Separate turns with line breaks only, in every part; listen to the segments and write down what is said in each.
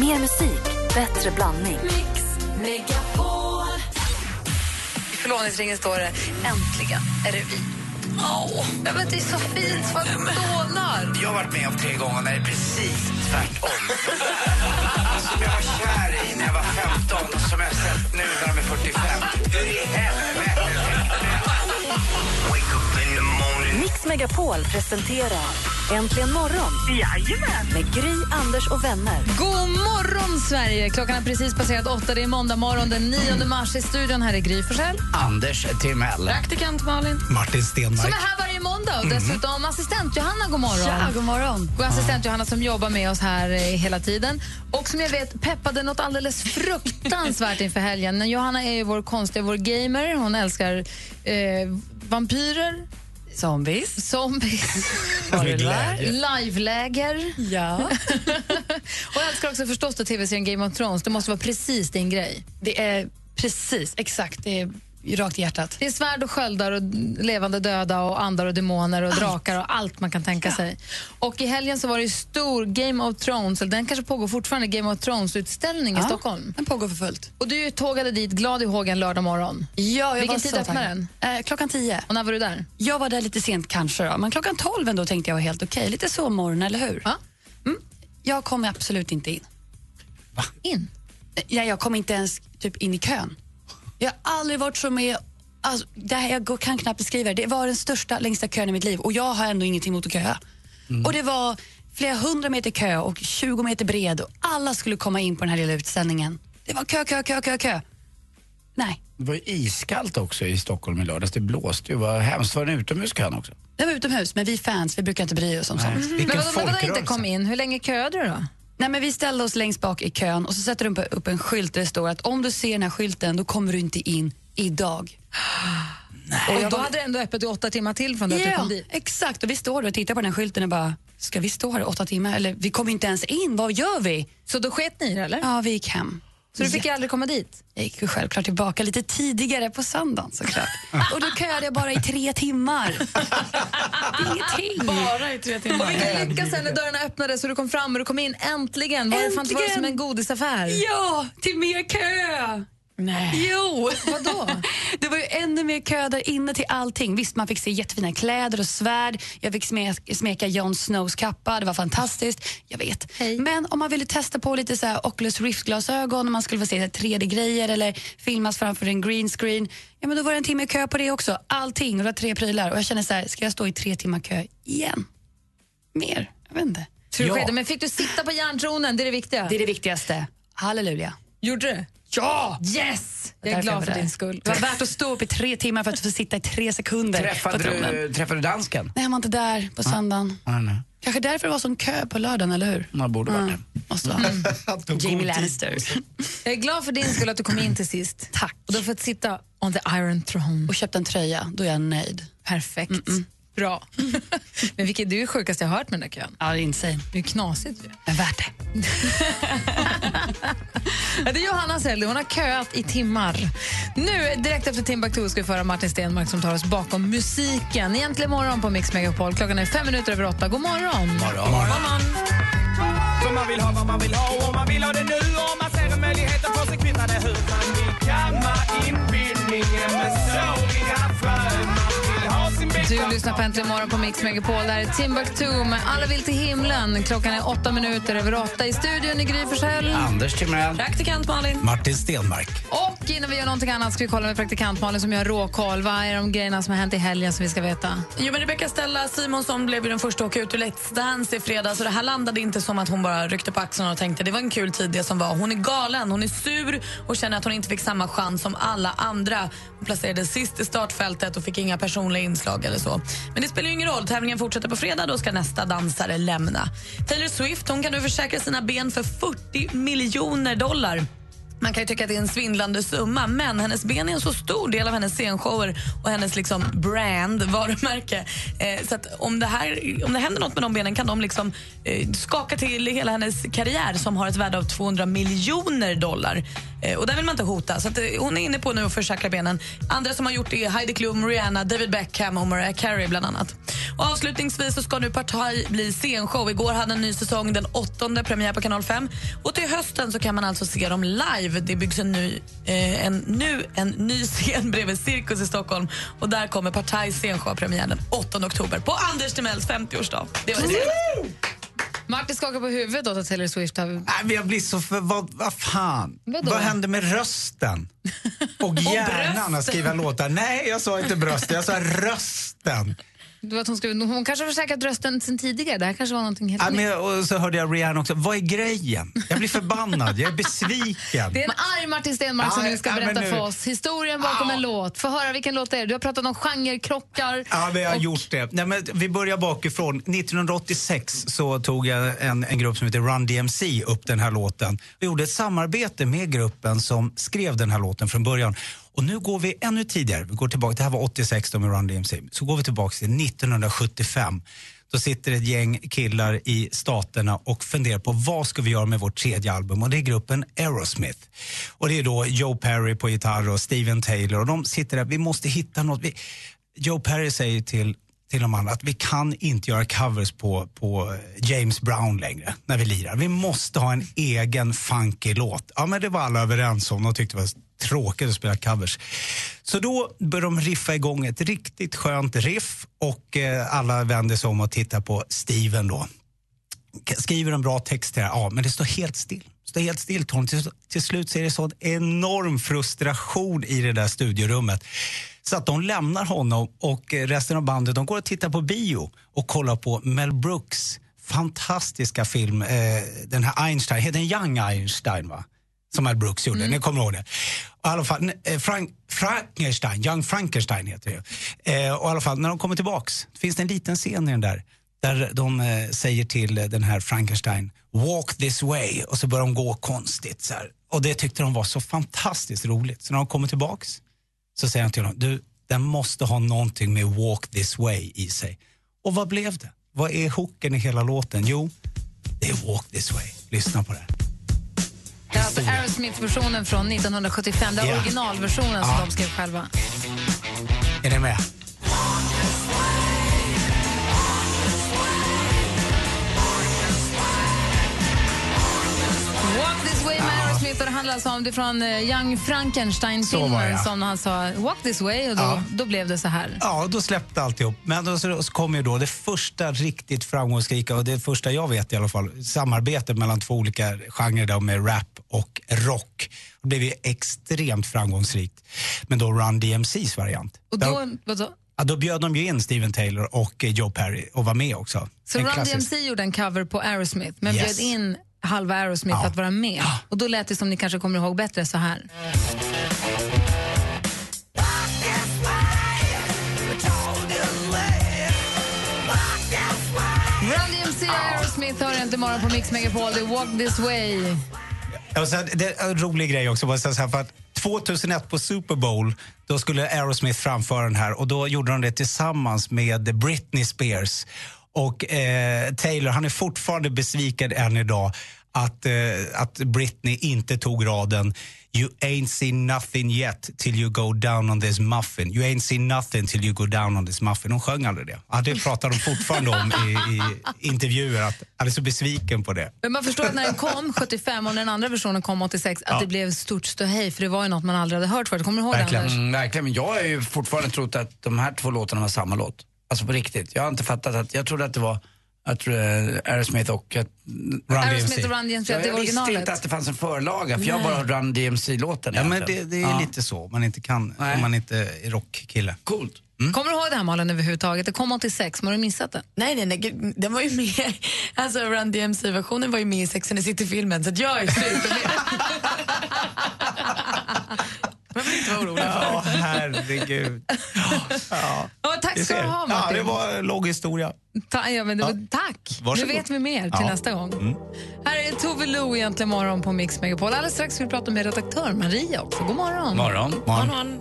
Mer musik, bättre blandning.
Mix Megapol.
I förlovningsringen står det Äntligen är det vi. Åh, ja, men det är så fint så man dånar.
Jag har varit med om tre gånger när det är precis tvärtom.
Alltså,
som jag var kär i när jag var 15 och som jag sett nu när de är 45. Hur i helvete tänkte jag? Wake up in the morning.
Mix Megapol presenterar Äntligen morgon med Gry, Anders och vänner.
God morgon, Sverige! Klockan är precis passerat åtta. Det är måndag morgon den 9 mars. I studion här är Gry Forssell.
Anders Timell.
Praktikant Malin.
Martin
Som
Stenmark.
är här varje måndag. Och dessutom assistent Johanna, god morgon.
Mhm. Ja, god morgon.
Och assistent Johanna som jobbar med oss här eh, hela tiden och som jag vet peppade något alldeles fruktansvärt inför helgen. Men Johanna är ju vår konstiga, vår gamer. Hon älskar eh, vampyrer,
Zombies.
zombies,
Med glädje.
liveläger
Ja.
och jag älskar också förstås då tv-serien Game of Thrones. Det måste vara precis din grej.
Det är precis, exakt. Det är rakt i hjärtat.
Det är svärd och sköldar och levande döda och andar och demoner och drakar och allt man kan tänka sig. Och i helgen så var det ju stor Game of Thrones, eller den kanske pågår fortfarande, Game of Thrones-utställning i Stockholm.
Den pågår för fullt.
Och du tågade dit glad i hågen lördag morgon.
Ja, jag
Vilken
var
tid
så
öppnar
taggad. Eh, klockan tio.
Och när var du där?
Jag var där lite sent kanske, då, men klockan tolv ändå tänkte jag var helt okej. Lite sovmorgon, eller hur?
Ja.
Mm. Jag kom absolut inte in.
In.
Nej, jag kom inte ens typ in i kön. Jag har aldrig varit så med... Alltså, det här, jag går- kan knappt beskriva det. Det var den största, längsta kön i mitt liv och jag har ändå ingenting emot att köa. Och det var flera hundra meter kö och 20 meter bred och alla skulle komma in på den här lilla utställningen. Det var kö, kö, kö, kö, kö. Nej,
Det var ju iskallt också i Stockholm i lördags. Det blåste ju. Vad hemskt. Var den utomhuskön också?
det var utomhus, men vi fans, vi brukar inte bry oss om sånt.
Mm. Men
Vilken
vadå, men vadå inte
folkrörelse.
kom in? Hur länge köade du då?
Nej, men vi ställde oss längst bak i kön och så sätter de upp- upp en skylt där det står att om du ser den här skylten då kommer du inte in idag.
Och,
jag
då
var-
hade det ändå öppet i åtta timmar till från det att du kom dit.
exakt. Och vi står där och tittar på den här skylten och bara, ska vi stå här i åtta timmar? Eller vi kommer ju inte ens in, vad gör vi?
Så då sket ni i det, eller?
Ja, vi gick hem.
Så du fick ju aldrig komma dit?
Jag gick ju självklart tillbaka lite tidigare på söndagen såklart. och då köade jag bara i tre timmar. Ingenting.
Bara i tre timmar.
Och vilken lycka sen när dörrarna öppnades och du kom fram och du kom in äntligen. Var det, fan, det var det som
Äntligen!
en godisaffär?
Ja, till mer kö!
Nej.
Jo!
Vadå?
Det var ju ännu mer kö där inne till allting. Visst, man fick se jättefina kläder och svärd. Jag fick smek- smeka Jon Snows kappa. Det var fantastiskt. Jag vet.
Hej.
Men om man ville testa på lite så här Oculus Rift-glasögon, om man skulle få se 3D-grejer eller filmas framför en green screen, ja, men då var det en timme kö på det också. Allting. Och det var tre prylar. Och jag kände så här, ska jag stå i tre timmar kö igen? Mer? Jag vet inte.
Tror du
Ja.
skedde? Men fick du sitta på järntronen? Det är det viktiga.
Det är det viktigaste. Halleluja.
Gjorde du?
Ja!
Yes! Jag är
Därför
glad
var
för
där.
din skull.
Det var värt att stå upp i tre timmar för att få sitta i tre sekunder
Träffade
på tronen.
du, träffade du dansken?
Nej, han var inte där på söndagen.
Nej, nej.
Kanske därför det var sån kö på lördagen, eller hur?
Man borde varit
Mm.
det.
Måste vara.
Han tog
Jamie
god tid.
Lannister.
Jag är glad för din skull att du kom in till sist.
Tack.
Och du har fått sitta on the iron throne.
Och köpte en tröja, då är jag nöjd.
Perfekt. Bra. Men vilket du är sjukast jag har hört med den där kön.
Ja, det är insane.
Det är ju knasigt ju.
Men värt det.
Ja, Det är Johanna Seldi, hon har köat i timmar. Nu direkt efter Timbuktu ska vi föra Martin Stenmark som tar oss bakom musiken. Egentligen morgon på Mix Megapol. Klockan är fem minuter över åtta. God morgon!
Morgon.
För man vill ha vad man vill ha och man vill ha det nu och man ser en möjlighet att få sig kvittade hur man vill kamma inbildningen med såriga skön Man vill ha sin bästa
Du lyssnar på Äntligen morgon på Mix Megapol. Det här är Timbuktu med Alla vill till himlen. Klockan är åtta minuter över åtta. I studion i Gry Forssell.
Anders Timell.
Praktikant Malin.
Martin Stenmark.
Och innan vi gör någonting annat ska vi kolla med praktikant Malin som gör råkoll. Vad är de grejerna som har hänt i helgen som vi ska veta?
Jo, men Rebecca Stella Simonsson blev ju den första att åka ut ur Let's Dance i fredags. Så det här landade inte som att hon bara ryckte på axlarna och tänkte det var en kul tid det som var. Hon är galen, hon är sur och känner att hon inte fick samma chans som alla andra. Hon placerades sist i startfältet och fick inga personliga inslag eller så. Men det spelar ju ingen roll, tävlingen fortsätter på fredag. Då ska nästa dansare lämna. Taylor Swift hon kan nu försäkra sina ben för 40 miljoner dollar. Man kan ju tycka att det är en svindlande summa, men hennes ben är en så stor del av hennes scenshower och hennes liksom brand, varumärke. Eh, så att om det, här, om det händer något med de benen kan de liksom, eh, skaka till hela hennes karriär som har ett värde av 200 miljoner dollar. Eh, Och där vill man inte hota. Så att eh, hon är inne på nu att försäkra benen. Andra som har gjort det är Heidi Klum, Rihanna, David Beckham och Mariah Carey bland annat. Och avslutningsvis så ska nu Partaj bli scenshow. Igår hade en ny säsong, den åttonde, premiär på Kanal 5. Och till hösten så kan man alltså se dem live. Det byggs en ny, eh, en, nu en ny scen bredvid Cirkus i Stockholm. Och där kommer Partajs scenshow ha premiär den 8 oktober på Anders Timells 50-årsdag. Det var det.
Martin skakar på huvudet åt att Taylor Swift har...
Nej, men jag blir så för... Vad, vad fan?
Vadå?
Vad hände med rösten? Och hjärnan att skriva låtar? Nej, jag sa inte bröstet, jag sa rösten.
Du vet, hon, skrev, hon kanske har försäkrat rösten sen tidigare. Det här kanske var någonting helt
Ja,
nytt.
men, och så hörde jag Rihanna också. Vad är grejen? Jag blir förbannad, jag är besviken.
Det är en arg Martin Stenmarck som
Ja,
nu ska
ja, men
berätta
nu-
för oss historien bakom
Ja.
en låt. Få höra vilken låt det är. Du har pratat om genrekrockar.
Ja, vi har
och-
gjort det. Nej, men vi börjar bakifrån. 1986 så tog jag en, en grupp som heter Run DMC upp den här låten. Vi gjorde ett samarbete med gruppen som skrev den här låten från början. Och nu går vi ännu tidigare. Vi går tillbaka, det här var 86 då med Run DMC. Så går vi tillbaka till 1975. Då sitter ett gäng killar i staterna och funderar på vad ska vi göra med vårt tredje album och det är gruppen Aerosmith. Och det är då Joe Perry på gitarr och Steven Taylor och de sitter där, vi måste hitta något. Vi, Joe Perry säger till, till de andra att vi kan inte göra covers på, på James Brown längre när vi lirar. Vi måste ha en egen funky låt. Ja, men det var alla överens om. De tyckte det var tråkigt att spela covers. Så då började de riffa igång ett riktigt skönt riff och eh, alla vände sig om och tittade på Steven då skriver en bra text här, ja, men det står helt still. Det Står helt still, Tony. Till, till slut så är det sån enorm frustration i det där studiorummet. Så att de lämnar honom och eh, resten av bandet, de går och tittar på bio och kollar på Mel Brooks fantastiska film, eh, den här Einstein, heter den Young Einstein va? Som Mel Brooks gjorde, ni kommer ihåg det. Och i alla fall, eh, Frank, Frankenstein, Young Frankenstein heter det ju. eh, Och i alla fall, när de kommer tillbaks, finns det en liten scen i den där där de eh, säger till eh, den här Frankenstein, walk this way, och så börjar de gå konstigt. Så här. Och det tyckte de var så fantastiskt roligt. Så när de kommer tillbaks så säger han till honom, du, den måste ha någonting med walk this way i sig. Och vad blev det? Vad är hooken i hela låten? Jo, det är walk this way. Lyssna på det här.
Det är alltså Aerosmith-versionen från 1975. Det är
Ja.
originalversionen som
Ja.
de skrev själva.
Är ni med?
Walk this way med Aerosmith. Och det handlar alltså om det från eh, Young
Så var
Frankenstein-filmen
jag.
som han sa Walk this way och då,
Ja.
då blev det så här.
Ja, då släppte alltihop. Men då, så, så kom ju då det första riktigt framgångsrika och det första jag vet i alla fall, samarbetet mellan två olika genrer då med rap och rock. Det blev ju extremt framgångsrikt. Men då Run DMCs variant.
Och
Där-
då, vadå?
ja, då bjöd de ju in Steven Taylor och eh, Joe Perry och var med också.
Så
En
Run
klassisk-
DMC gjorde en cover på Aerosmith men
Yes.
bjöd in halva Aerosmith
Ja.
att vara med. Och då lät det som ni kanske kommer ihåg bättre så här. Run DMC och Aerosmith hör inte imorgon på Mix Megapol. Det är Walk this way.
Och sen, det är en rolig grej också. Bara så här, för att 2001 på Super Bowl, då skulle Aerosmith framföra den här och då gjorde de det tillsammans med Britney Spears. Och eh, Taylor, han är fortfarande besviken än idag att, eh, att Britney inte tog raden You ain't seen nothing yet till you go down on this muffin. You ain't seen nothing till you go down on this muffin. Hon sjöng aldrig det. Ja, det pratar de fortfarande om i, i intervjuer, att han är så besviken på det.
Men man förstår att när den kom 75 och den andra versionen kom 86 att det blev stort ståhej för det var ju något man aldrig hade hört förut. Kommer du ihåg det
Verkligen.
Anders?
Mm, verkligen, men jag har ju fortfarande trott att de här två låtarna var samma låt. Alltså på riktigt. Jag har inte fattat att, jag trodde att det var jag tror, eh, Aerosmith och... Att,
Run DMC.
Aerosmith och Run DMC,
jag
att det är
visste inte
originalet.
att det fanns en förlaga, för jag har bara hört Run DMC-låten
Ja, men det, det är lite så. Om Man inte kan,
Nej.
om man inte är rockkille.
Coolt.
Mm.
Kommer du ihåg det här Malin överhuvudtaget? Det kom 86, men har du missat det?
Nej, nej, nej. gud, Den var ju med. Alltså, Run DMC-versionen var ju med i Sex and the City-filmen, så att jag är supermed. Man vill inte vara orolig.
Ja, herregud. Ja,
Ja, tack
vi
ska
ser.
du ha
Ja,
Martin.
det var en lång historia.
Ta, ja, men det var, tack!
Varsågod.
Nu vet vi mer till
Ja. Mm.
nästa gång. Här är Tove Lo egentligen morgon på Mix Megapol. Alldeles strax ska vi prata med redaktör Maria också. God morgon!
Morgon.
Man,
Morgon.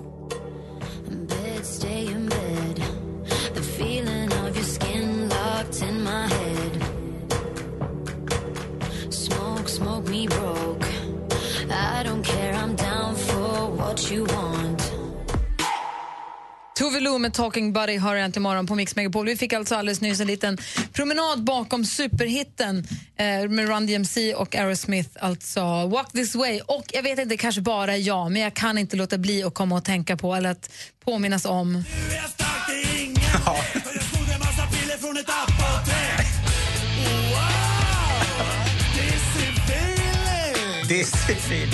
Smoke, smoke me broke. I don't care, I'm
Tove Lo med Talking Buddy har äntligen morgon på Mix Megapol. Vi fick alltså alldeles nyss en liten promenad bakom superhitten eh, med Run DMC och Aerosmith, alltså Walk This Way. Och jag vet inte, kanske bara jag, men jag kan inte låta bli att komma och tänka på eller att påminnas om
Det är så fint.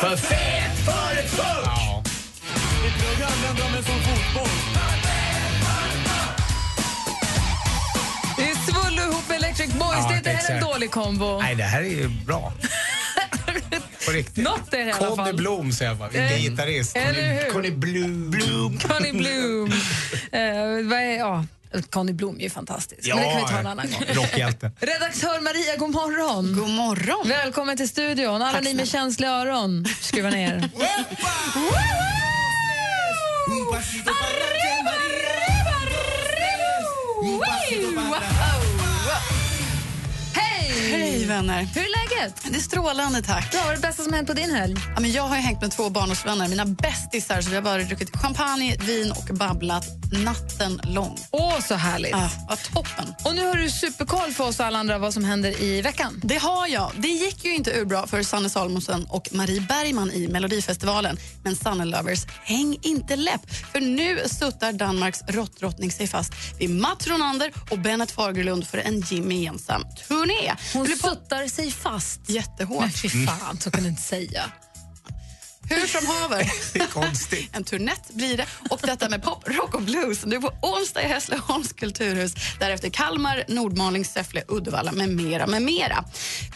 För fet för ett fuck!
Det är Svullo ihop med Electric Boys.
Ja,
det är inte heller en
exakt.
dålig kombo.
Nej, det här är ju bra. På riktigt.
Något är det i alla
Conny
fall.
Blom säger jag bara. Vilken
Eh,
gitarrist.
eller hur?
Conny Blom. Blom.
Conny Bloom. Eh, vad är, ja. Conny Blom är ju fantastisk, men det kan vi ta en annan gång.
Rockhjälte.
Redaktör Maria, god morgon.
God morgon.
Välkommen till studion. Alla ni med känsliga öron, skruva ner. Hej!
Hej vänner.
Hur är läget?
Det är strålande tack.
Bra, vad är det bästa som hänt på din helg?
Ja, men jag har ju hängt med två barndomsvänner, mina bästisar, så vi har bara druckit champagne, vin och babblat natten lång.
Åh, så härligt.
Ah, vad toppen.
Och nu har du superkoll för oss alla andra vad som händer i veckan.
Det har jag. Det gick ju inte urbra för Sanne Salmonsen och Marie Bergman i Melodifestivalen. Men Sanne Lovers, häng inte läpp! För nu suttar Danmarks råttdrottning sig fast vid Mats Ronander och Bennet Fagerlund för en gemensam turné.
Hon
Det blev på-
suttar sig fast. Men
Jättehårt.
fy fan, så kan du inte säga.
Hur som haver.
Det är konstigt.
En turnett blir det. Och detta med pop, rock och blues nu på onsdag i Hässleholms kulturhus. Därefter Kalmar, Nordmaling, Säffle, Uddevalla med mera, med mera.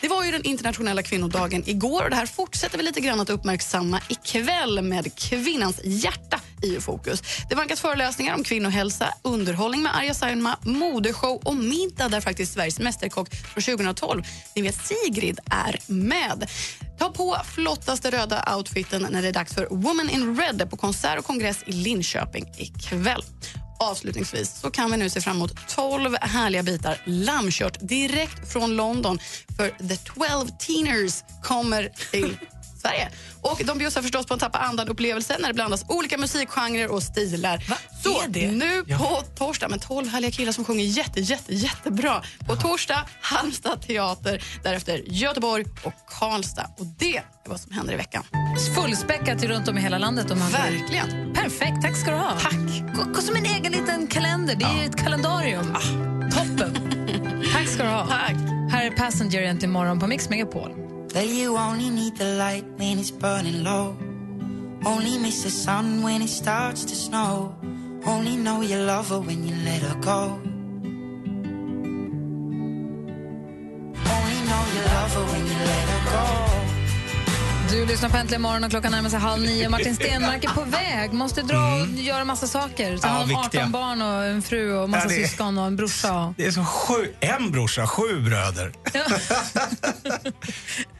Det var ju den internationella kvinnodagen igår och det här fortsätter vi lite grann att uppmärksamma ikväll med Kvinnans hjärta i fokus. Det vankas föreläsningar om kvinnohälsa, underhållning med Arja Saijonmaa, modeshow och middag där faktiskt Sveriges mästerkock från 2012, ni vet Sigrid, är med. Ta på flottaste röda outfiten när det är dags för Woman in Red på konsert och kongress i Linköping ikväll. Avslutningsvis så kan vi nu se fram emot 12 härliga bitar lammkött direkt från London för The 12 Teeners kommer till Sverige. Och de bjussar förstås på en tappa andan-upplevelse när det blandas olika musikgenrer och stilar. så nu på torsdag, med 12 härliga killar som sjunger jätte, jätte, jättebra. På torsdag, Halmstad teater, därefter Göteborg och Karlstad. Och det är vad som händer i veckan.
Fullspäckat runt om i hela landet. Om man vill.
Verkligen.
Perfekt, tack ska du ha.
Tack.
Gå- gå Som en egen liten kalender. Det är ju ett kalendarium. Ah. Toppen. tack ska du ha.
Tack.
Här är Passenger egentligen imorgon på Mix Megapol.
Well, you only need the light when it's burning low. Only miss the sun when it starts to snow. Only know you love her when you let her go. Only know you love her when you let her go.
Du lyssnar på Äntligen morgon och klockan närmar sig halv nio. Martin Stenmark är på väg, måste dra och göra massa saker. Så
Ja,
han har
viktiga.
18 barn och en fru och massa
Ja, det är-
syskon och en brorsa.
Det är som sju, en brorsa, sju bröder.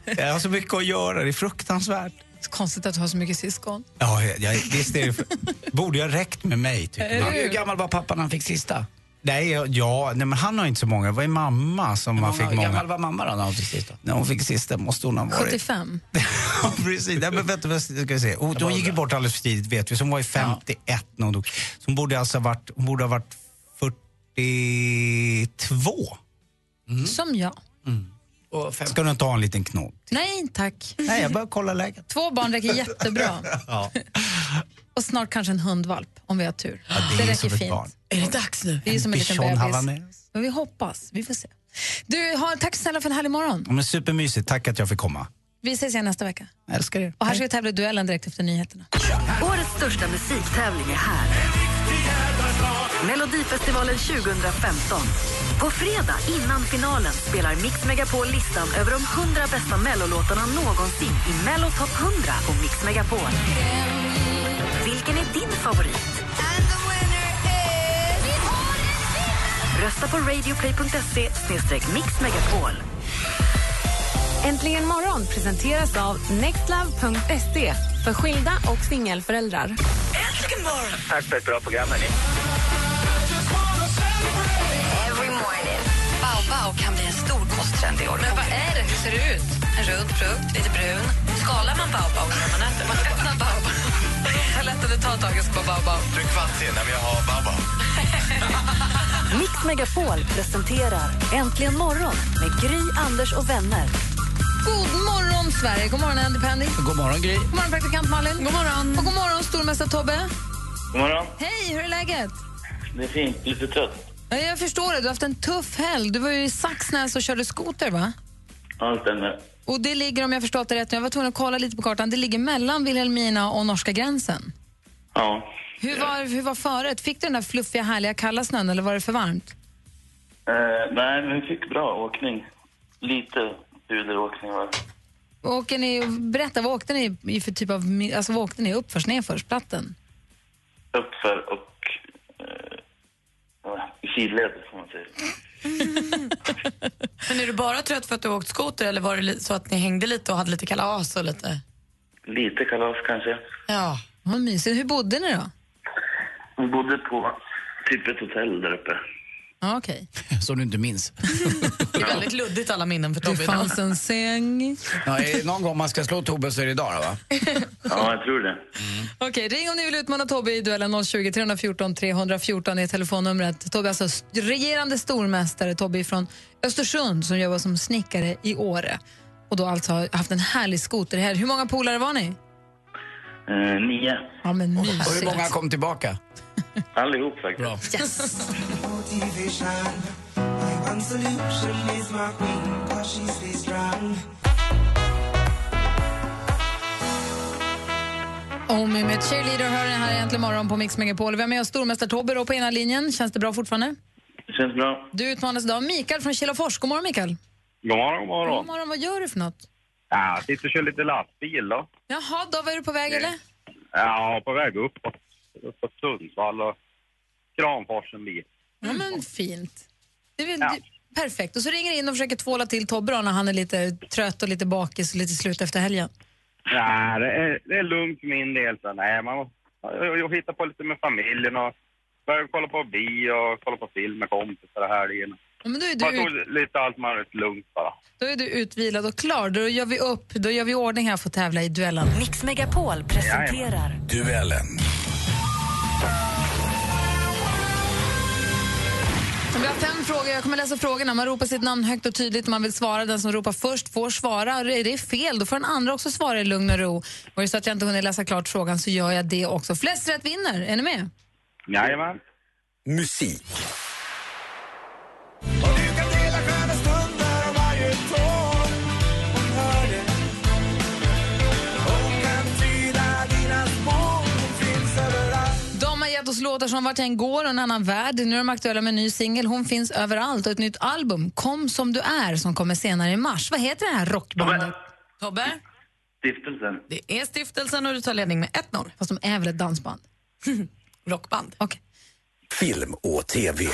jag har så mycket att göra, det är fruktansvärt.
Så Konstigt att du har så mycket syskon.
Ja, jag, jag, visst är det, för- borde jag räckt med mig, tycker man.
Han är ju gammal var pappan han fick sista.
Nej, jag- ja, nej, men han har inte så många. Vad är mamma som har fick
Hur
många?
gammal var mamma då när hon fick sista?
När hon fick sista måste hon ha varit...
75.
ja, precis. Nej, men vänta, vad ska vi se. Hon, hon gick ju bort alldeles för tidigt, vet vi. Så hon var ju 51 när hon dog. Så hon borde alltså ha varit, hon borde ha varit 42.
Som jag.
Och fem.
Ska du inte ha en liten knog?
Nej, tack.
Nej, jag bara kollar läget.
Två barn räcker jättebra. Och snart kanske en hundvalp, om vi har tur. det,
som
räcker
ett
fint.
barn.
Är det dags nu?
Det är som en liten
Bichon
bebis.
havanais.
Men vi hoppas. Vi får se. Du, ha, tack snälla för en härlig morgon.
Ja, men supermysigt. Tack att jag fick komma.
Vi ses igen nästa vecka.
Älskar er.
Och här ska vi tävla i duellen direkt efter nyheterna.
Årets största musiktävling är här. Melodifestivalen 2015. På fredag innan finalen spelar Mix Megapol listan över de 100 bästa mellolåtarna någonsin i Mello Top 100 på Mix Megapol. Vilken är din favorit? Rösta på radioplay.se mixmegapol.
Äntligen morgon presenteras av nextlove.se för skilda och singelföräldrar.
Tack för ett bra program, hörni.
Bao Bao kan bli en stor kosttrend i år.
Vad är det? Hur ser det ut?
en röd frukt, lite brun. Skalar man baobab när man äter? Man öppnar baobab. Toaletten tar tag i på baobab.
Du är kvart innan vi har Babba.
Mix Megapol presenterar Äntligen morgon med Gry, Anders och vänner.
God morgon, Sverige! God morgon, Andy Pandy.
God morgon, Gry.
God morgon, praktikant Malin. God morgon. Och god morgon, stormästare Tobbe.
God morgon.
Hej, hur är läget?
Det är fint. Lite trött.
Ja, Jag förstår det. Du har haft en tuff helg. Du var ju i Saxnäs och körde skoter, va?
Ja, det stämmer.
Och det ligger, om jag förstått det rätt, nu, jag var tvungen att kolla lite på kartan, det ligger mellan Vilhelmina och norska gränsen.
Ja.
Hur var, hur var föret? Fick du den där fluffiga, härliga, kalla snön eller var det för varmt?
Eh, nej, men vi fick bra åkning. Lite puderåkning var det.
Och Åker ni, berätta, vad åkte ni i för typ av, mi- alltså vad åkte ni uppförs, nerförs, platten?
uppför och eh, i sidled, får man säga.
Men är du bara trött för att du har åkt skoter eller var det li- så att ni hängde lite och hade lite kalas och lite...
Lite kalas kanske.
Ja.
Vad mysigt. Hur bodde ni då?
Vi bodde på typ ett hotell där uppe.
Ja, okej.
Som du inte minns.
Det är väldigt luddigt alla minnen för Tobbe.
Det fanns en säng.
Ja, är det någon gång man ska slå Tobbe så är det idag, då, va?
Ja, jag tror det.
Okej, ring om ni vill utmana Tobbe i duellen 020 314 314 är telefonnumret. Tobbe är alltså st- regerande stormästare, Tobbe från Östersund som jobbar som snickare i Åre. Och då alltså har haft en härlig skoter här. Hur många polare var ni?
Eh, nio.
Ja, men
Och hur
mysigt.
många kom tillbaka?
Allihop faktiskt. Bra.
Yes. Omi Oh, med Cheerleader hör den här egentligen morgon på Mix Megapol. Vi har med oss stormästare Tobbe då på ena linjen. Känns det bra fortfarande?
Det känns bra.
Du utmanas idag av Mikael från Kilafors. God morgon Mikael.
God morgon, god
God
morgon.
morgon, vad gör du för något?
Ja, jag sitter och kör lite lastbil då.
Jaha, då var du på väg eller?
Ja, på väg uppåt. Uppåt Sundsvall och Kramfors en bit.
Ja men fint. Det är väl, det- Perfekt. Och så ringer in och försöker tvåla till Tobbe då när han är lite trött och lite bakis och lite slut efter helgen.
Nej, det är, det är lugnt för min del. Så nej, man måste jag, jag hittar på lite med familjen och börjar kolla på bio och kolla på film med kompisar och helgen.
Ja, men då är
Man
du
tog
Mm.
lite allt man har lugnt bara.
Då är du utvilad och klar. Då gör vi upp, då gör vi i ordning här för att tävla i duellen.
Mix Megapol presenterar
Duellen.
Vi har fem frågor. Jag kommer läsa frågorna. Man ropar sitt namn högt och tydligt. Man vill svara. Den som ropar först får svara. Och Är det fel, då får den andra också svara i lugn och ro. Och är det så att jag inte hunnit läsa klart frågan så gör jag det också. Flest rätt vinner. Är ni med?
Jajamän.
Musik.
De har gett oss låtar som Vart jag än går och En annan värld. Nu är de aktuella med en ny singel. Hon finns överallt. Och ett nytt album, Kom som du är, som kommer senare i mars. Vad heter det här rockbandet?
Tobbe,
Stiftelsen.
det är stiftelsen och du tar ledning med 1-0.
Fast de är väl ett dansband?
Rockband.
Okej.
Film och TV.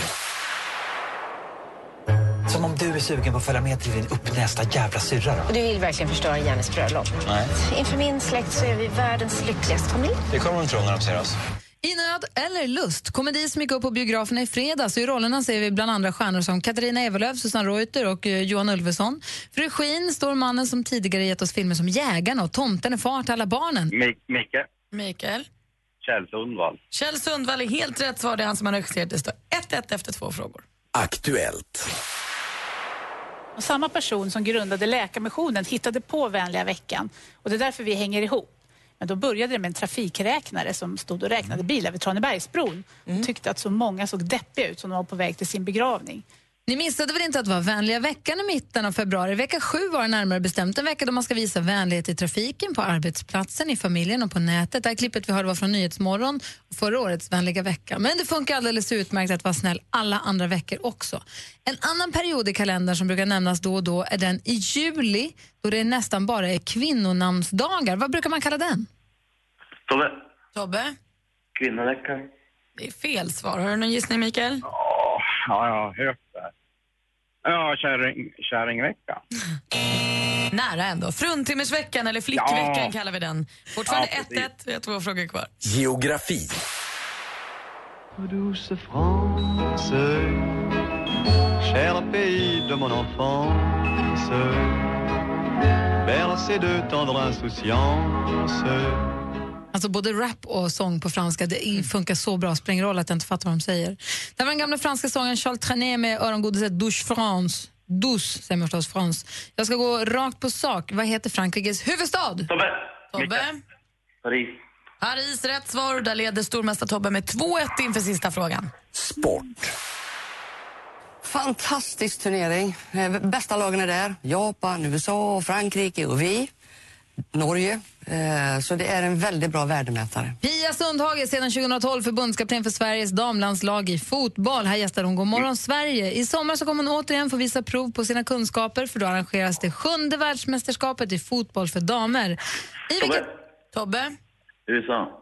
Som om du är sugen på att följa med till din uppnästa jävla syrra då?
Du vill verkligen förstöra Jannes bröllop?
Nej.
Inför min släkt så är vi världens lyckligaste familj.
Det kommer de tro när de ser oss.
I nöd eller lust. Komedi som gick upp på biograferna i fredags. Och I rollerna ser vi bland andra stjärnor som Katarina Evelöv, Susanne Reuter och eh, Johan Ulveson. För regin står mannen som tidigare gett oss filmer som Jägarna och Tomten är far till alla barnen.
Mik- Micke,
Mikael.
Kjell Sundvall.
Kjell Sundvall är helt rätt svar. Det är han som har regisserat. Det står 1-1 efter två frågor.
Aktuellt.
Och samma person som grundade Läkarmissionen hittade på Vänliga veckan. Och det är därför vi hänger ihop. Men då började det med en trafikräknare som stod och räknade
Mm.
bilar vid Tranebergsbron. Och tyckte att så många såg deppiga ut som de var på väg till sin begravning.
Ni missade väl inte att det var vänliga veckan i mitten av februari? Vecka sju var det närmare bestämt. En vecka då man ska visa vänlighet i trafiken, på arbetsplatsen, i familjen och på nätet. Det här klippet vi hörde var från Nyhetsmorgon, förra årets vänliga vecka. Men det funkar alldeles utmärkt att vara snäll alla andra veckor också. En annan period i kalendern som brukar nämnas då och då är den i juli då det nästan bara är kvinnonamnsdagar. Vad brukar man kalla den?
Tobbe,
Tobbe,
kvinnoveckan.
det är fel svar. Har du någon gissning Mikael?
Ja, jag har hört det här. Ja, kärring, kärringvecka.
Nära ändå. Fruntimmersveckan eller flickveckan
Ja.
kallar vi den. Fortfarande
Ja,
1-1.
precis.
vi har två frågor kvar.
Geografi.
Douce France, cher pays de mon enfance, bercé de tendre insouciance.
Alltså både rap och sång på franska, det funkar så bra, spelar ingen roll att jag inte fattar vad de säger. Det här var den gamla franska sången Charles Trenet med örongodiset Douche France. Douche säger man förstås, France. Jag ska gå rakt på sak. Vad heter Frankrikes huvudstad?
Tobbe!
Tobbe.
Paris.
Paris, rätt svar. Där leder stormästare Tobbe med 2-1 inför sista frågan.
Sport.
Fantastisk turnering. Eh, Bästa lagen är där. Japan, USA, Frankrike och vi. Norge. Eh, Så det är en väldigt bra värdemätare.
Pia Sundhage, sedan 2012 förbundskapten för Sveriges damlandslag i fotboll. Här gästar hon Godmorgon Sverige. I sommar så kommer hon återigen få visa prov på sina kunskaper för då arrangeras det sjunde världsmästerskapet i fotboll för damer. I vilket...
Tobbe?
USA.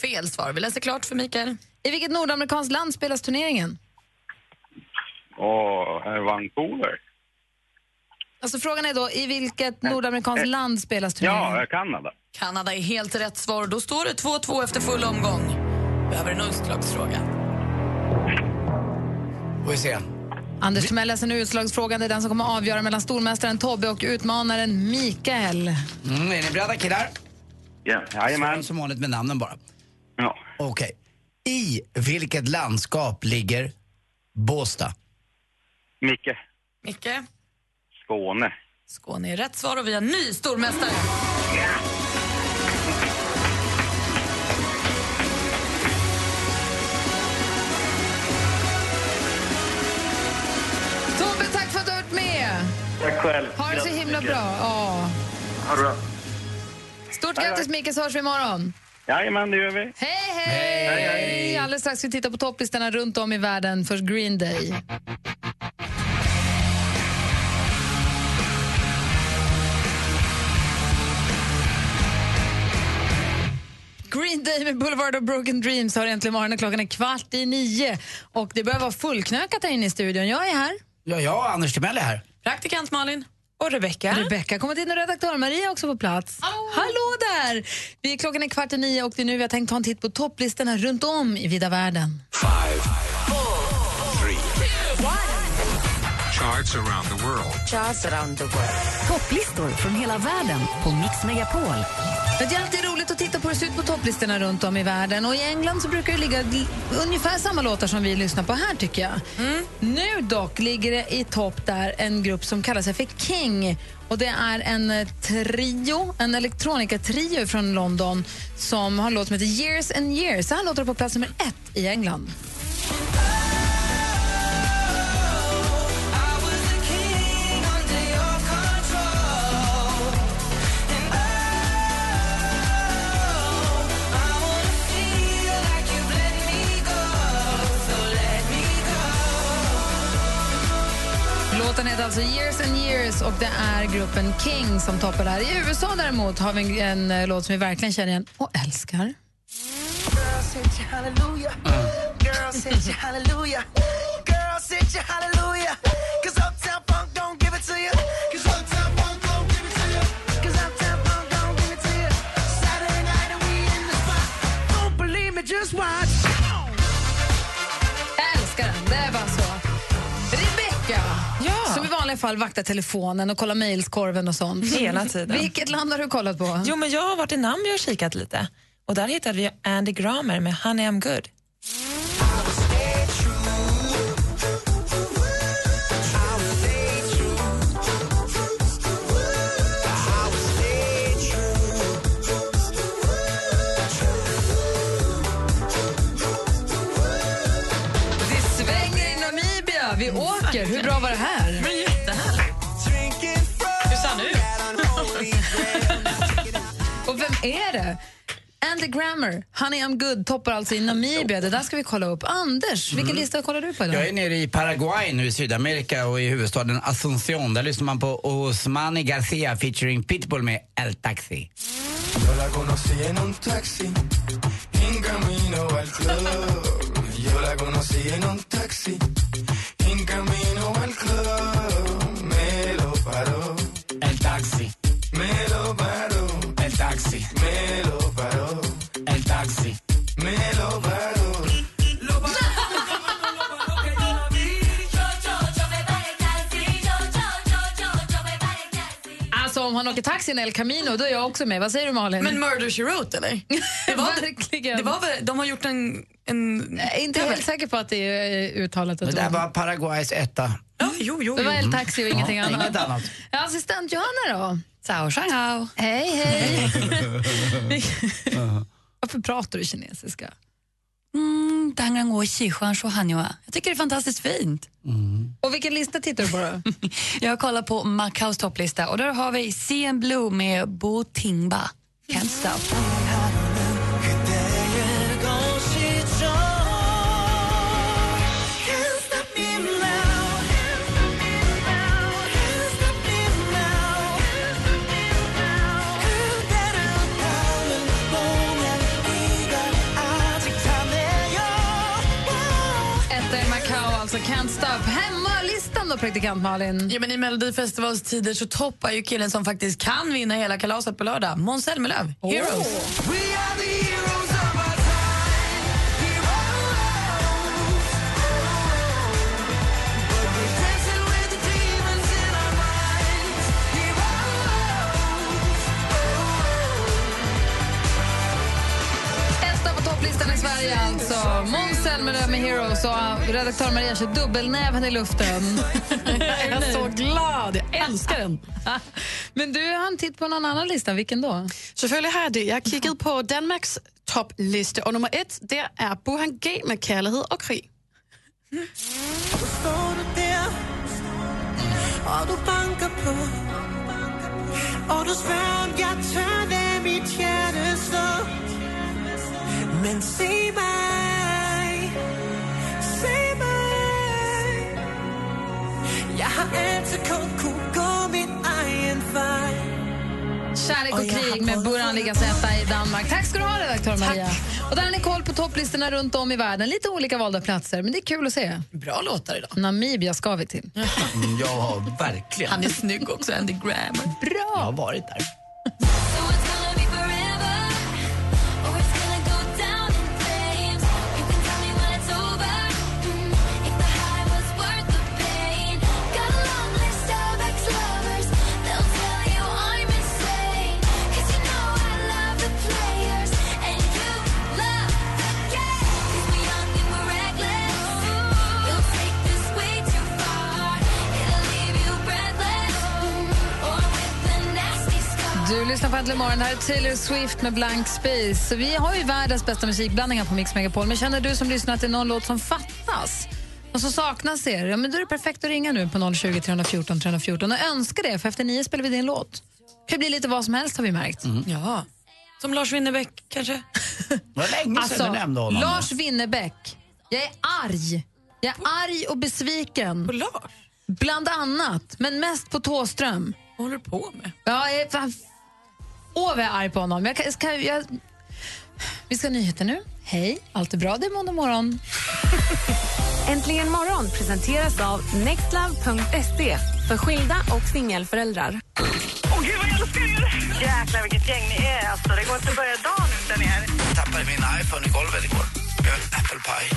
Fel svar. Vi läser klart för Mikael.
I vilket nordamerikanskt land spelas turneringen?
Åh, här är Vancouver.
Alltså frågan är då, i vilket nordamerikanskt land spelas turneringen?
Mm.
Ja, Kanada.
Kanada är helt rätt svar. Då står det 2-2 efter full omgång. Behöver en utslagsfråga.
Får vi se. Mm,
Anders Timell läser nu utslagsfrågan. Det är den som kommer avgöra mellan stormästaren Tobbe och utmanaren Mikael.
Mm, är ni beredda killar?
Ja.
Jajamän. Som vanligt med namnen bara.
Ja.
Okej. I vilket landskap ligger Båstad?
Micke.
Micke?
Skåne.
Skåne är rätt svar och vi har ny stormästare.
Tobbe, tack för att du har varit med!
Tack själv.
Ha det så himla bra. Ja.
Ha det bra.
Stort grattis Micke, så hörs vi imorgon.
Jajamän, det gör vi.
Hej, hej! Alldeles strax ska vi titta på topplistorna runt om i världen. Först Green Day. Green Day med Boulevard of Broken Dreams har äntligen morgonen. Klockan är kvart i nio och det börjar vara fullknökat här inne i studion. Jag är här.
Ja, jag och Anders Timell är här.
Praktikant Malin. Och Rebecka.
Rebecka kommit in och redaktör Maria är också på plats. Hallå, där! Vi är klockan är kvart i nio och det är nu vi har tänkt ta en titt på topplistorna runt om i vida världen.
Five, four, three. Charts around the world.
Topplistor från hela världen på Mix Megapol.
Det är alltid roligt att titta på hur det ser ut på topplistorna runt om i världen. Och I England så brukar det ligga li- ungefär samma låtar som vi lyssnar på här. tycker jag.
Mm.
Nu dock ligger det i topp där en grupp som kallar sig för King. Och Det är en eh, trio, en elektronikatrio från London som har en låt som heter Years and years. Så här låter det på plats nummer ett i England. Låten heter alltså Years and years och det är gruppen King som toppar där. I USA däremot har vi en, en eh, låt som vi verkligen känner igen och älskar. Älskar den, det är bara så. Rebecca, som i vanliga fall vaktar telefonen och kollar mejlskorven och sånt.
Hela tiden.
Vilket land har du kollat på?
Jo, men jag har varit i Namibia och kikat lite. Och där hittade vi Andy Grammer med Honey I'm Good.
Det svänger i Namibia. Vi åker. Hur bra var det här?
Men jättehärligt. Hur ser han
Och vem är det? Andy Grammer, Honey I'm Good, toppar alltså i Namibia. Det där ska vi kolla upp. Anders, vilken
Mm.
lista kollar du på
Jag är
idag?
nere i Paraguay nu i Sydamerika och i huvudstaden Asunción. Där lyssnar man på Osmani Garcia featuring Pitbull med El Taxi.
Yo la conocí en un taxi, en camino al club. Yo la conocí en un taxi, en camino al club. Me lo paró. El taxi. Me lo paró. El taxi. Me lo paró. El taxi. Me lo paró.
Alltså
alltså om han åker taxi i El Camino, då är jag också med. Vad säger du Malin?
Men Murder She Wrote, eller? Det var, Mm. Verkligen. Det var, väl- de har gjort en... en
Jag är inte helt säker på att det är uttalat.
Det där var Paraguays etta.
Ja, jo, jo,
Det var El Taxi och ingenting
Ja,
annat.
Inget annat.
Assistent Johanna då?
Sao shangao.
Hej, hej. Varför pratar du kinesiska?
Mm, 当然我喜欢说汉语啊. Jag tycker det är fantastiskt fint.
Och vilken lista tittar du på då?
Jag kollar på Macaos topplista och där har vi CN Blue med Bo Tingba. Can't stop.
Etta i Macau, alltså Can't Stop. Hemmalistan då, praktikant Malin?
Ja, men I Melodifestivalstider så toppar ju killen som faktiskt kan vinna hela kalaset på lördag, Måns Zelmerlöw. Heroes.
Etta på topplistan i Sverige alltså. Måns Zelmerlöw med Heroes och ah, redaktör Maria kör dubbelnäven i luften.
Jag är så glad.
Jag älskar den. Men du hann titt på någon annan lista. Vilken då?
Selvfølgelig har jeg det. Jeg har kigget på Danmarks topliste, og nummer et, der er Burhan G med kærlighed og krig.
Och du bankar på Och du svär om jag tömde mitt hjärta så Men se mig Se mig Jag har en sekund kunnat gå min egen väg
Kärlek och krig med Burhan Ligas etta i Danmark. Tack ska du ha, redaktör Maria. Och där har ni koll på topplistorna runt om i världen. Lite olika valda platser, men det är kul att se.
Bra låtar idag.
Namibia ska vi till.
Mm, Ja, verkligen.
Han är snygg också, Andy Graham.
Bra!
Jag har varit där.
Mm,
Du lyssnar på Äntligen morgon. Det här är Taylor Swift med Blank Space. Vi har ju världens bästa musikblandningar på Mix Megapol. Men känner du som lyssnar att det är någon låt som fattas och som saknas er, ja, men då är det perfekt att ringa nu på 020 314 314 och önska det, för efter nio spelar vi din låt. Det kan bli lite vad som helst har vi märkt.
Ja. Som Lars Winnerbäck, kanske?
Det var länge sedan
Alltså,
Alltså,
du nämnde honom.
Alltså, Lars Winnerbäck. Jag är arg. Jag är arg och besviken. På
Lars?
Bland annat, men mest på Tåström.
Vad håller du på med?
Ja, jag är fan... Åh, vad jag är arg på honom. Jag, kan- ska, jag... Vi ska ha nyheter nu. Hej, allt är bra. Det är måndag morgon.
Äntligen morgon presenteras av nextlove.se för skilda och singelföräldrar.
Åh gud vad jag älskar er! Jäklar vilket gäng ni är alltså. Det går inte att börja dagen utan er.
Jag tappade min iPhone i golvet igår. Blev en apple pie.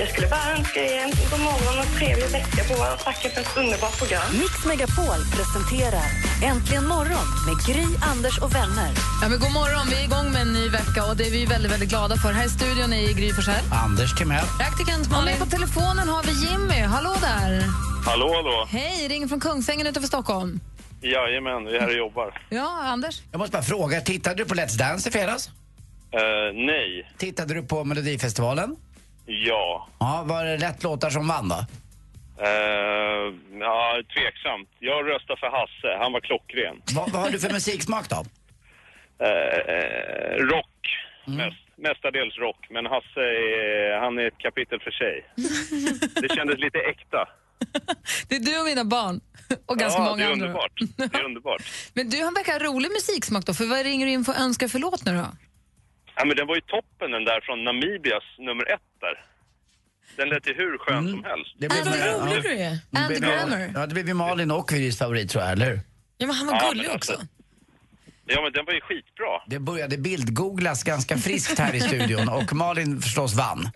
Jag skulle bara önska er en god morgon och trevlig vecka på er och tacka för ett underbart program.
Mix Megapol presenterar Äntligen morgon med Gry, Anders och vänner.
Ja, men god morgon. Vi är igång med en ny vecka och det är vi väldigt, väldigt glada för. Här i studion är Gry Forssell.
Anders Timell.
Praktikant Malin. Och med på telefonen har vi Jimmy. Hallå där!
Hallå, hallå.
Hej, ringer från Kungsängen utanför Stockholm.
Jajamän, vi är här och jobbar.
Ja, Anders?
Jag måste bara fråga, tittade du på Let's Dance i fredags?
Eh, nej,
Tittade du på Melodifestivalen?
ja.
Ja, var det rätt låtar som vann då?
Eh, ja, tveksamt. Jag röstar för Hasse. Han var klockren.
Vad, vad har du för musiksmak då?
Eh, eh, rock,
Mm.
mest, mestadels rock. Men Hasse, är, han är ett kapitel för sig. Det kändes lite äkta.
Det är du och mina barn. Och ganska
ja,
många
det är
andra.
underbart. Det är underbart.
Men du har verkar rolig musiksmak då, för vad ringer du in för önskar för låt nu då?
Ja, men den var ju toppen den där från Namibias nummer ett där. Den lät ju hur skön som helst.
Det blev- Äh, vad rolig
Ja.
du
är.
Det blev- Ja, det blev ju Malin och Gurys favorit tror jag, eller hur?
Ja, men han
Ja,
var
men
gullig också.
Ja, men den var ju skitbra.
Det började bildgooglas ganska friskt här i studion och Malin förstås vann.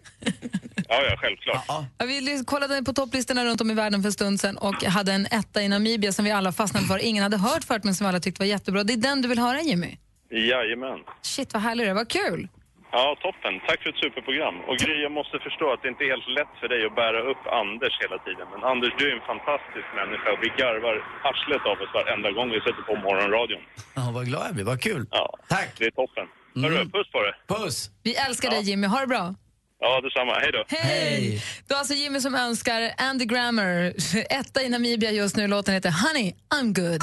Ja, ja, självklart.
Ja, vi lys- kollade på topplistorna runt om i världen för en stund sedan och hade en etta i Namibia som vi alla fastnade för. Ingen hade hört förut men som vi alla tyckte var jättebra. Det är den du vill höra Jimmy?
Jajamän.
Shit vad härlig du är, vad kul!
Ja, toppen. Tack för ett superprogram. Och Gry, jag måste förstå att det inte är helt lätt för dig att bära upp Anders hela tiden. Men Anders, du är en fantastisk människa och vi garvar arslet av oss varenda gång vi sätter på morgonradion.
Ja, vad glad jag blir, vad kul.
Ja, Tack! Det är toppen. Hörru, puss på dig!
Puss!
Vi älskar dig Jimmy, ha det bra!
Ja, detsamma. Hej då!
Hej! Det var alltså Jimmy som önskar Andy Grammer, etta i Namibia just nu. Låten heter Honey, I'm good.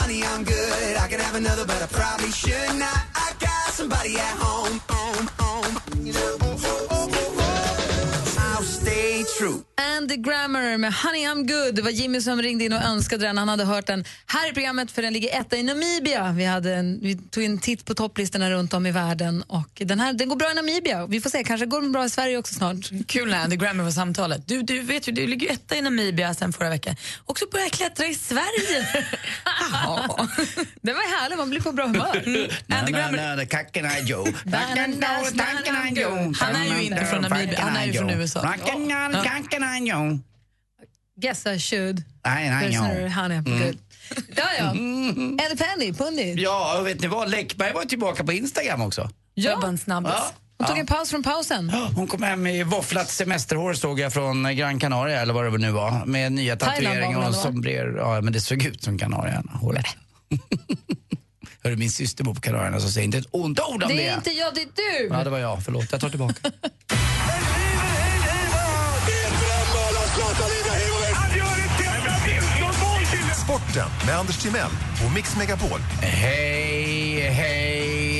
Honey, I'm good. I could have another, but I probably should not. I got somebody at home, home, home. You know, oh, oh, oh, oh, oh. I'll stay true.
Andy Grammer med Honey I'm good. Det var Jimmy som ringde in och önskade den. Han hade hört den här i programmet för den ligger etta i Namibia. Vi, hade en, vi tog en titt på topplistorna runt om i världen och den här den går bra i Namibia. Vi får se, kanske går den bra i Sverige också snart.
Kul när Andy Grammer var samtalet. Du, du vet ju, du ligger ju etta i Namibia sen förra veckan. Också börjar klättra i Sverige. ja.
Det var härligt, man blir på bra humör.
Andy Grammer
Kacken är Joe.
Han är ju inte från Namibia, han är ju från USA. Ja.
Guess I should.
Nej, nej, ja.
There's no honey I'm
Mm.
good. Ja, ja. Eller Penny, Pundit.
Ja, vet ni vad? Läckberg var tillbaka på Instagram också.
Ja.
en snabbis.
Ja.
Hon tog en paus från pausen.
Hon kom hem i våfflat semesterhår såg jag från Gran Canaria eller vad det nu var. Med nya
Thailand var hon,
tatueringar och
eller vad?
sombrier. Ja, men det såg ut som Kanarierna, håret. Hörru, min syster bor på Kanarierna så säger inte ett ont ord om det.
Det är inte jag, det är du!
Ja, det var jag. Förlåt, jag tar tillbaka.
Sporten med Anders Timell och Mix Megapol.
Hej, hej,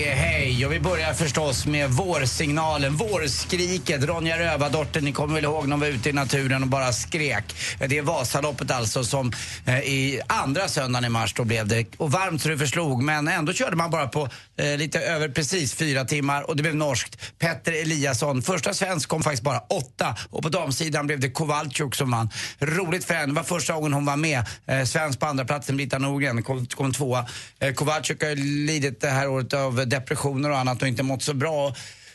hej. Och vi börjar förstås med vårsignalen, vårskriket. Ronja Rövardotter, ni kommer väl ihåg när hon var ute i naturen och bara skrek. Det är Vasaloppet alltså som eh, i andra söndagen i mars då blev det. Och varmt så det förslog, men ändå körde man bara på eh, lite över precis fyra timmar och det blev norskt. Petter Eliasson, första svensk, kom faktiskt bara åtta. Och på damsidan blev det Kowalczuk som vann. Roligt för henne, det var första gången hon var med. Eh, svensk på andra platsen, Brita Norgren, kom, kom tvåa. Eh, Kowalczyk har ju lidit det här året av depressioner och annat och inte mått så bra.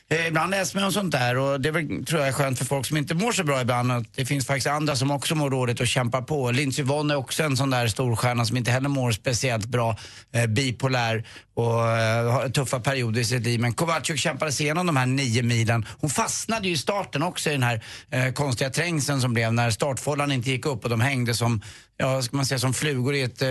Eh, Ibland läser man om sånt där och det är väl, tror jag är skönt för folk som inte mår så bra ibland att det finns faktiskt andra som också mår dåligt och kämpar på. Lindsey Vonn är också en sån där storstjärna som inte heller mår speciellt bra, eh, bipolär och eh, har tuffa perioder i sitt liv. Men Kovacic kämpade sig igenom de här nio milen. Hon fastnade ju i starten också i den här eh, konstiga trängseln som blev när startfållan inte gick upp och de hängde som, ja ska man säga som flugor i ett eh,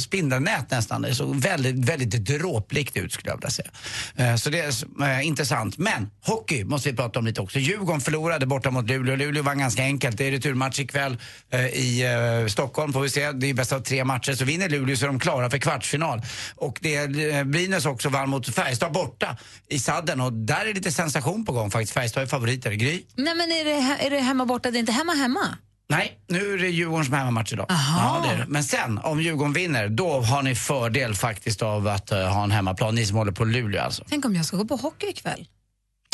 spindelnät nästan. Det såg väldigt, väldigt dråpligt ut skulle jag vilja säga. Eh, så det är eh, intressant. Men hockey måste vi prata om lite också. Djurgården förlorade borta mot Luleå. Luleå vann ganska enkelt. Det är returmatch ikväll eh, i eh, Stockholm får vi se. Det är bäst av tre matcher. Så vinner Luleå så är de klara för kvartsfinal. Och det är, eh, Brynäs också vann mot Färjestad borta i sadden och där är lite sensation på gång faktiskt. Färjestad är favoriter. Gry?
Nej, men är det, he- är det hemma borta? Det är inte hemma hemma?
Nej, nu är det Djurgården som är hemmamatch idag. Ja, det är det. Men sen, om Djurgården vinner, då har ni fördel faktiskt av att eh, ha en hemmaplan. Ni som håller på Luleå alltså.
Tänk om jag ska gå på hockey ikväll?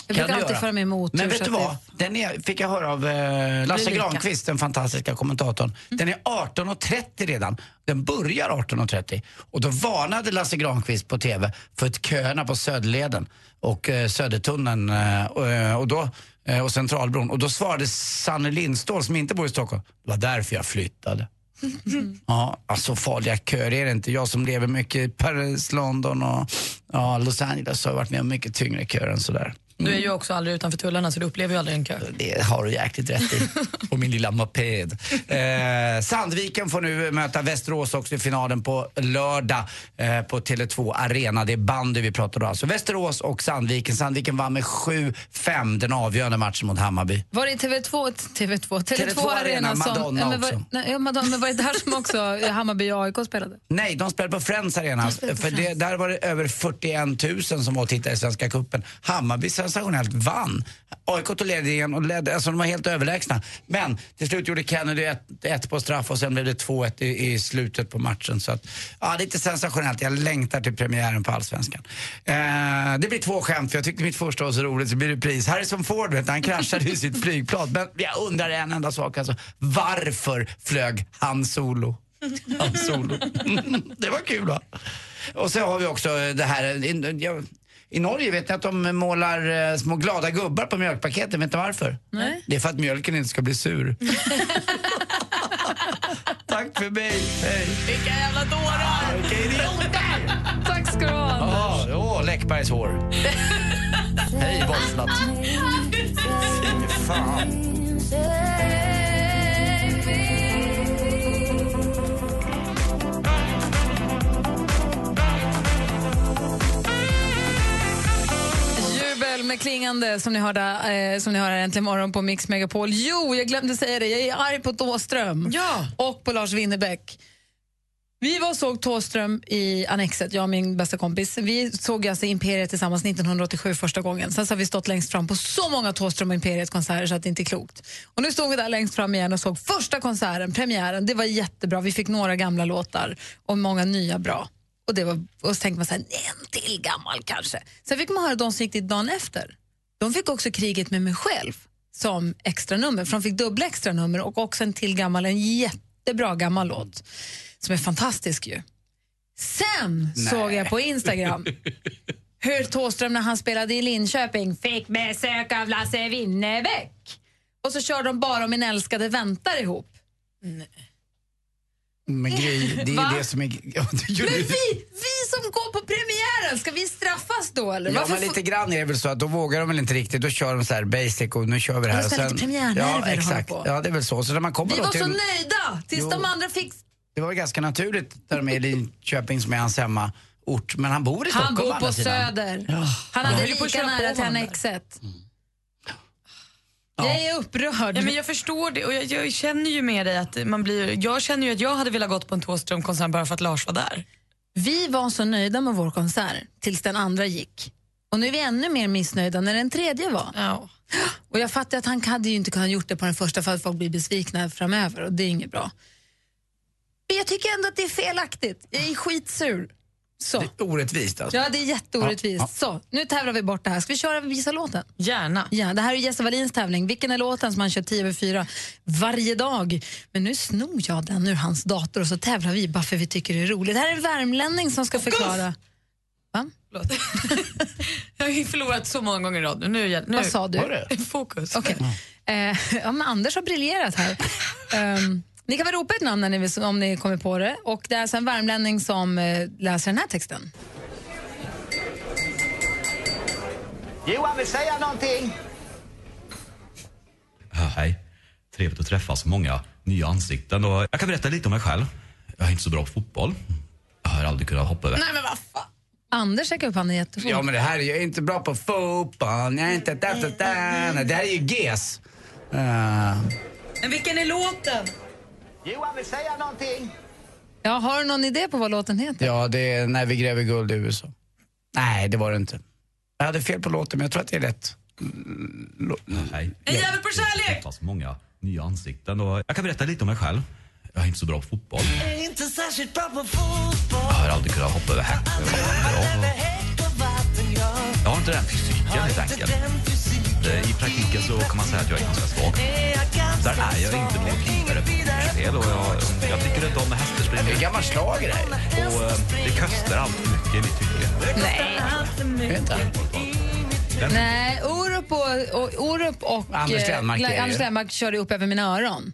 Jag
Kan du
brukar alltid
göra?
föra med mig otur.
Men
så
vet du
att det-
vad? Den är, fick jag höra av eh, Lasse
lika.
Granqvist, den fantastiska kommentatorn. Den är 18.30 redan. Den börjar 18.30. Och då varnade Lasse Granqvist på TV för ett köerna på Söderleden och eh, Södertunneln eh, och, eh, och, då, eh, och Centralbron. Och då svarade Sanne Lindstål, som inte bor i Stockholm, det var därför jag flyttade. Ja, alltså farliga köer är det inte. Jag som lever mycket i Paris, London och ja, Los Angeles har varit med om mycket tyngre köer än sådär.
Du är ju också aldrig utanför tullarna så du upplever ju aldrig en kö.
Det har du jäkligt rätt i. Och min lilla moped. Eh, Sandviken får nu möta Västerås också i finalen på lördag eh, på Tele2 Arena. Det är bandy vi pratar om. Alltså Västerås och Sandviken. Sandviken vann med 7-5 den avgörande matchen mot Hammarby.
Var det i TV2, TV2, Tele2
Tele2 Arena,
Arena som...
Madonna
Nej, men var,
också.
Nej, ja, Madonna, men var det där som också Hammarby och AIK spelade?
Nej, de spelade på Friends Arena.
spelade på
För det,
Friends.
där var det över 41 000 som var och tittade i Svenska cupen. Hammarby sensationellt vann. AIK tog ledningen och ledde, alltså de var helt överlägsna. Men till slut gjorde Kennedy ett, ett på straff och sen blev det 2-1 i, i slutet på matchen. Så att, ja, lite sensationellt. Jag längtar till premiären på Allsvenskan. Eh, det blir två skämt, för jag tyckte mitt första var så roligt så blir det pris. Harrison Ford, vet, du, han kraschade i sitt flygplan. Men jag undrar en enda sak alltså. Varför flög han solo? Han solo. Det var kul va? Och så har vi också det här, in- ja, I Norge vet ni att de målar eh, små glada gubbar på mjölkpaketen. Vet ni varför?
Nej.
Det är för att mjölken inte ska bli sur. Tack för mig. Hej.
Vilka jävla dårar!
Vilka idioter!
Tack ska du ha.
Åh, åh, Läckbergs hår. Hej, Bollsnatt. Fan.
Jubel med klingande som ni hörde, eh, som ni hör här äntligen morgon på Mix Megapol. Jo, jag glömde säga det. Jag är arg på Tåström ja. och på Lars Winnerbäck. Vi var och såg Tåström i Annexet, jag och min bästa kompis. Vi såg alltså Imperiet tillsammans 1987 första gången. Sen så har vi stått längst fram på så många Tåström och Imperiet-konserter så att det inte är klokt. Och nu stod vi där längst fram igen och såg första konserten, premiären. Det var jättebra. Vi fick några gamla låtar och många nya bra. Och, det var, och så tänkte man så här, en till gammal kanske. Sen fick man höra de som gick dit dagen efter. De fick också kriget med mig själv som extra nummer. för de fick dubbla extra nummer och också en till gammal, en jättebra gammal låt som är fantastisk ju. Sen såg jag på Instagram hur Thåström när han spelade i Linköping fick besök av Lasse Winnerbäck. Och så kör de bara om min älskade väntar ihop.
Men Gry, det är
Va?
ju det som är... Ja, det är ju-
Men vi, vi som går på premiären, ska vi straffas då eller?
Ja,
Varför
men
får-
lite grann är det väl så att då vågar de väl inte riktigt. Då kör de så här basic och nu kör vi det här.
Och så är det lite premiärnerver
ja,
håller
exakt.
på.
Ja, det är väl så. Så när man kommer
Vi
då
var
till,
så nöjda tills
Jo.
de andra fick...
Det var ju ganska naturligt där de är i Linköping som är hans hemmaort. Men han bor i
Han
Stockholm å
bor på
andra sidan.
Söder.
Ja.
Han
Ja.
hade
Höll på att
lika
köra
nära
på
till
honom
Annexet. Jag är upprörd.
Ja, men jag förstår det och jag, jag känner ju med dig att man blir... Jag känner ju att jag hade velat gått på en Thåström-konsert bara för att Lars var där.
Vi var så nöjda med vår konsert tills den andra gick. Och nu är vi ännu mer missnöjda när den tredje var. Och jag fattar att han hade ju inte kunnat gjort det på den första för att folk blir besvikna framöver och det är inget bra. Men jag tycker ändå att det är felaktigt. Jag är skitsur. Så.
Det är orättvist alltså.
Ja, det är jätteorättvist. Så, nu tävlar vi bort det här. Ska vi köra Gissa låten?
Gärna.
Ja, det här är Jesse Wallins tävling. Vilken är låten som han kör 10 över 4 varje dag? Men nu snor jag den ur hans dator och så tävlar vi bara för vi tycker det är roligt. Det här är en värmlänning som ska förklara.
Jag har ju förlorat så många gånger i rad nu. nu, nu.
Vad sa du? Har
Fokus. Mm.
Okej. Eh, ja, men Anders har briljerat här. Ehm, ni kan väl ropa ett namn när ni, vill- om ni kommer på det. Och Det är alltså en värmlänning som eh, läser den här texten.
Johan vill säga någonting.
Ah, Hej. Trevligt att träffa så många nya ansikten. Och jag kan berätta lite om mig själv. Jag är inte så bra på fotboll. Jag har aldrig kunnat hoppa över.
men vad fan? Anders räcker upp handen jättefort.
Ja, men det här är ju inte bra på fotboll. Jag är inte... Da, da, da. Nej, Det här är ju GES. Eh,
Men vilken är låten?
Johan vill säga någonting.
Ja, har du någon idé på vad låten heter?
ja, det är När vi gräver guld i USA. Nej, det var det inte. Jag hade fel på låten, men jag tror att det är rätt.
Hej.
En jävel på kärlek!
träffa så många nya ansikten. Och jag kan berätta lite om mig själv. Jag är inte så bra på fotboll.
Är inte särskilt bra på fotboll.
Jag har aldrig kunnat hoppa över häck. Jag har inte den fysiken helt enkelt. Eh, I praktiken så kan man säga att jag är ganska svag. Där är jag inte något vidare spel och jag, jag tycker inte om hästspring. Det är
gammal slag det
Och eh, det kostar alltid mycket i mitt tycke.
Nej.
Vänta.
Nej, Orup och, och, Orup och
Anders
eh,
Lennmark är det ju.
Anders Lennmark körde upp över mina öron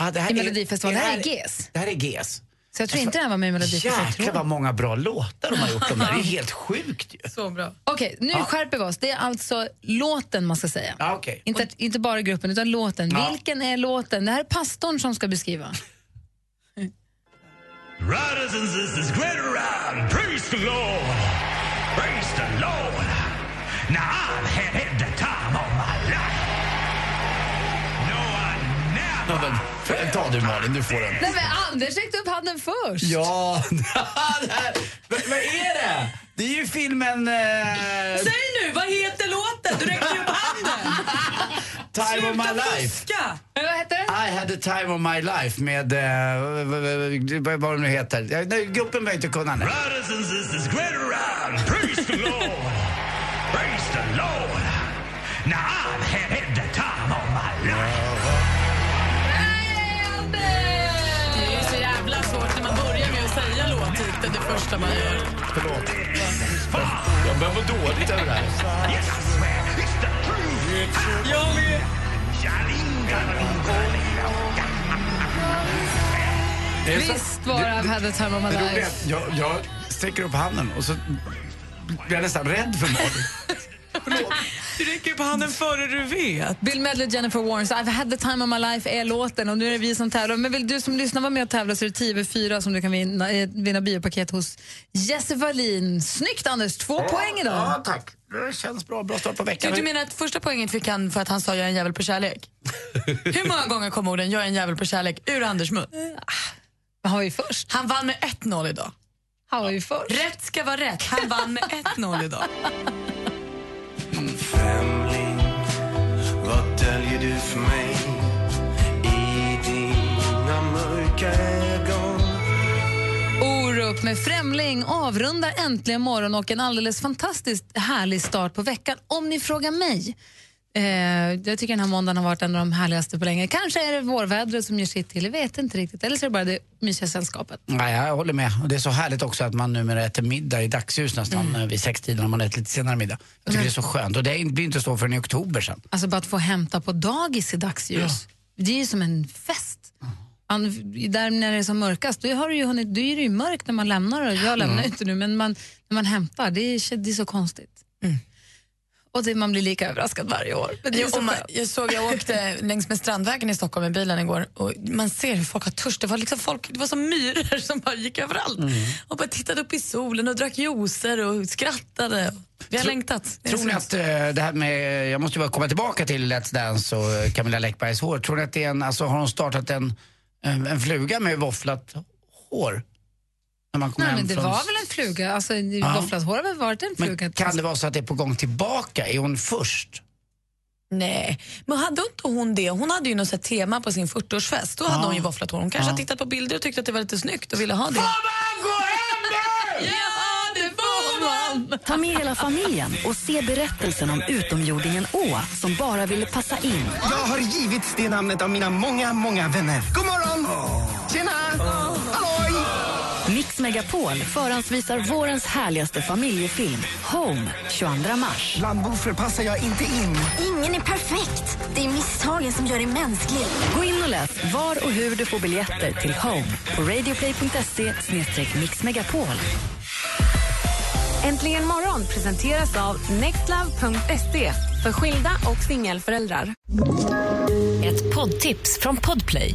Ah, det här
i
är-
Melodifestivalen. Det här är GES.
Det här är GES.
Så jag tror inte den var med i Melodifestivalen.
Alltså, Jäklar vad många bra låtar de har gjort. De där. Det är helt sjukt ju.
Så bra.
Okej, nu
Ja.
skärper vi oss. Det är alltså låten man ska säga.
Ja, okej.
Inte, inte bara gruppen, utan låten.
Ja.
Vilken är låten? Det här är pastorn som ska beskriva.
Brothers and sisters, great around. Praise the Lord. Praise the Lord. Now I've had, had the time of my life. No, I
Ja, men, f- ta du Malin, du får den.
Nej, men Anders räckte upp handen först.
Ja, det här, vad, vad är det? Det är ju filmen... Eh,
Säg nu, vad heter låten? Du räcker ju upp handen.
Time of
Sluta
my life.
fuska!
Vad heter den?
I had the time of my life med... Eh, vad- vad- vad- vad de nu heter. Ja, nej, gruppen behöver inte kunna den.
Brothers and sisters, great around. Praise the Lord. Praise the Lord. Now I've had, had the time of my life.
Det är ju så jävla svårt när man börjar med att säga låten. politik,
typ,
det är det första man gör.
Förlåt.
Jag börjar må dåligt över det här.
Jag vet.
Det är så-
Visst var det I've had the time of my
Det roliga är
life.
att jag, jag sträcker upp handen och så blir jag nästan rädd för Malin.
Du räcker upp handen före du vet. Bill Medley och Jennifer Warrens I've had the time of my life är låten och nu är det vi som tävlar. Men vill du som lyssnar vara med och tävla så är det 10 över 4 som du kan vinna, eh, vinna biopaket hos Jesse Wallin. Snyggt Anders, två poäng idag.
Ja, tack. Det känns bra. Bra start på
Du,
veckan.
du menar att första poängen fick han för att han sa jag är en jävel på kärlek? Hur många gånger kom orden jag är en jävel på kärlek ur Anders mun?
Han var ju först.
Ah, Han vann med 1-0 idag.
Han var ju först.
Rätt ska vara rätt. Han vann med 1-0 idag.
Främling, vad döljer du för mig? I dina mörka ögon
Orup med Främling avrundar äntligen morgon och en alldeles fantastiskt härlig start på veckan. Om ni frågar mig. Eh, jag tycker den här måndagen har varit en av de härligaste på länge. Kanske är det vårvädret som ger sitt till, jag vet inte riktigt. Eller så är det bara det mysiga sällskapet.
Nej, jag håller med. Och det är så härligt också att man numera äter middag i dagsljus nästan mm. vid sextiden om man äter lite senare middag. Jag
Mm.
tycker det är så skönt. Och det blir inte så förrän i oktober sen.
Alltså bara att få hämta på dagis i dagsljus. Det är ju som en fest. An, där när det är som mörkast, då, har det ju hunnit, då är det ju mörkt när man lämnar. Och jag lämnar
Mm.
ju inte nu, men man, när man hämtar, det är, det är så konstigt.
Mm.
Och det, man blir lika överraskad varje år. Men det är
Jo,
så
och man,
skönt.
jag såg, jag åkte längs med Strandvägen i Stockholm i bilen igår och man ser hur folk har törst. Det var, liksom folk, det var som myror som bara gick överallt.
Mm.
Och bara tittade upp i solen och drack juicer och skrattade. Vi har
Tro-
längtat. Det är
Tror ni
så-
att eh, det här med, jag måste ju bara komma tillbaka till Let's Dance och eh, Camilla Läckbergs hår. Tror ni att det är en, alltså har hon startat en, en, en fluga med våfflat hår? När man kommer
Nej,
hem
men det
från-
var väl en fluga? Alltså,
Ja.
Våfflat hår har väl varit en
Men
fluga?
kan det vara så att det är på gång tillbaka? Är hon först?
Nej, men hade inte hon det? Hon hade ju något så här tema på sin 40-årsfest. Då hade hon ju våfflat hår. Hon kanske
Ja.
har tittat på bilder och tyckte att det var lite snyggt och ville ha det.
Ta med hela familjen och se berättelsen om utomjordingen Å som bara ville passa in.
Jag har givits det namnet av mina många, många vänner. God morgon! Tjena! Halloj!
Mix Megapol förhandsvisar vårens härligaste familjefilm Home 22 mars.
Bland boffer passar jag inte in.
Ingen är perfekt. Det är misstagen som gör dig mänsklig.
Gå in och läs var och hur du får biljetter till Home på radioplay.se mixmegapol.
Äntligen morgon presenteras av nextlove.se för skilda och singelföräldrar.
Ett poddtips från Podplay.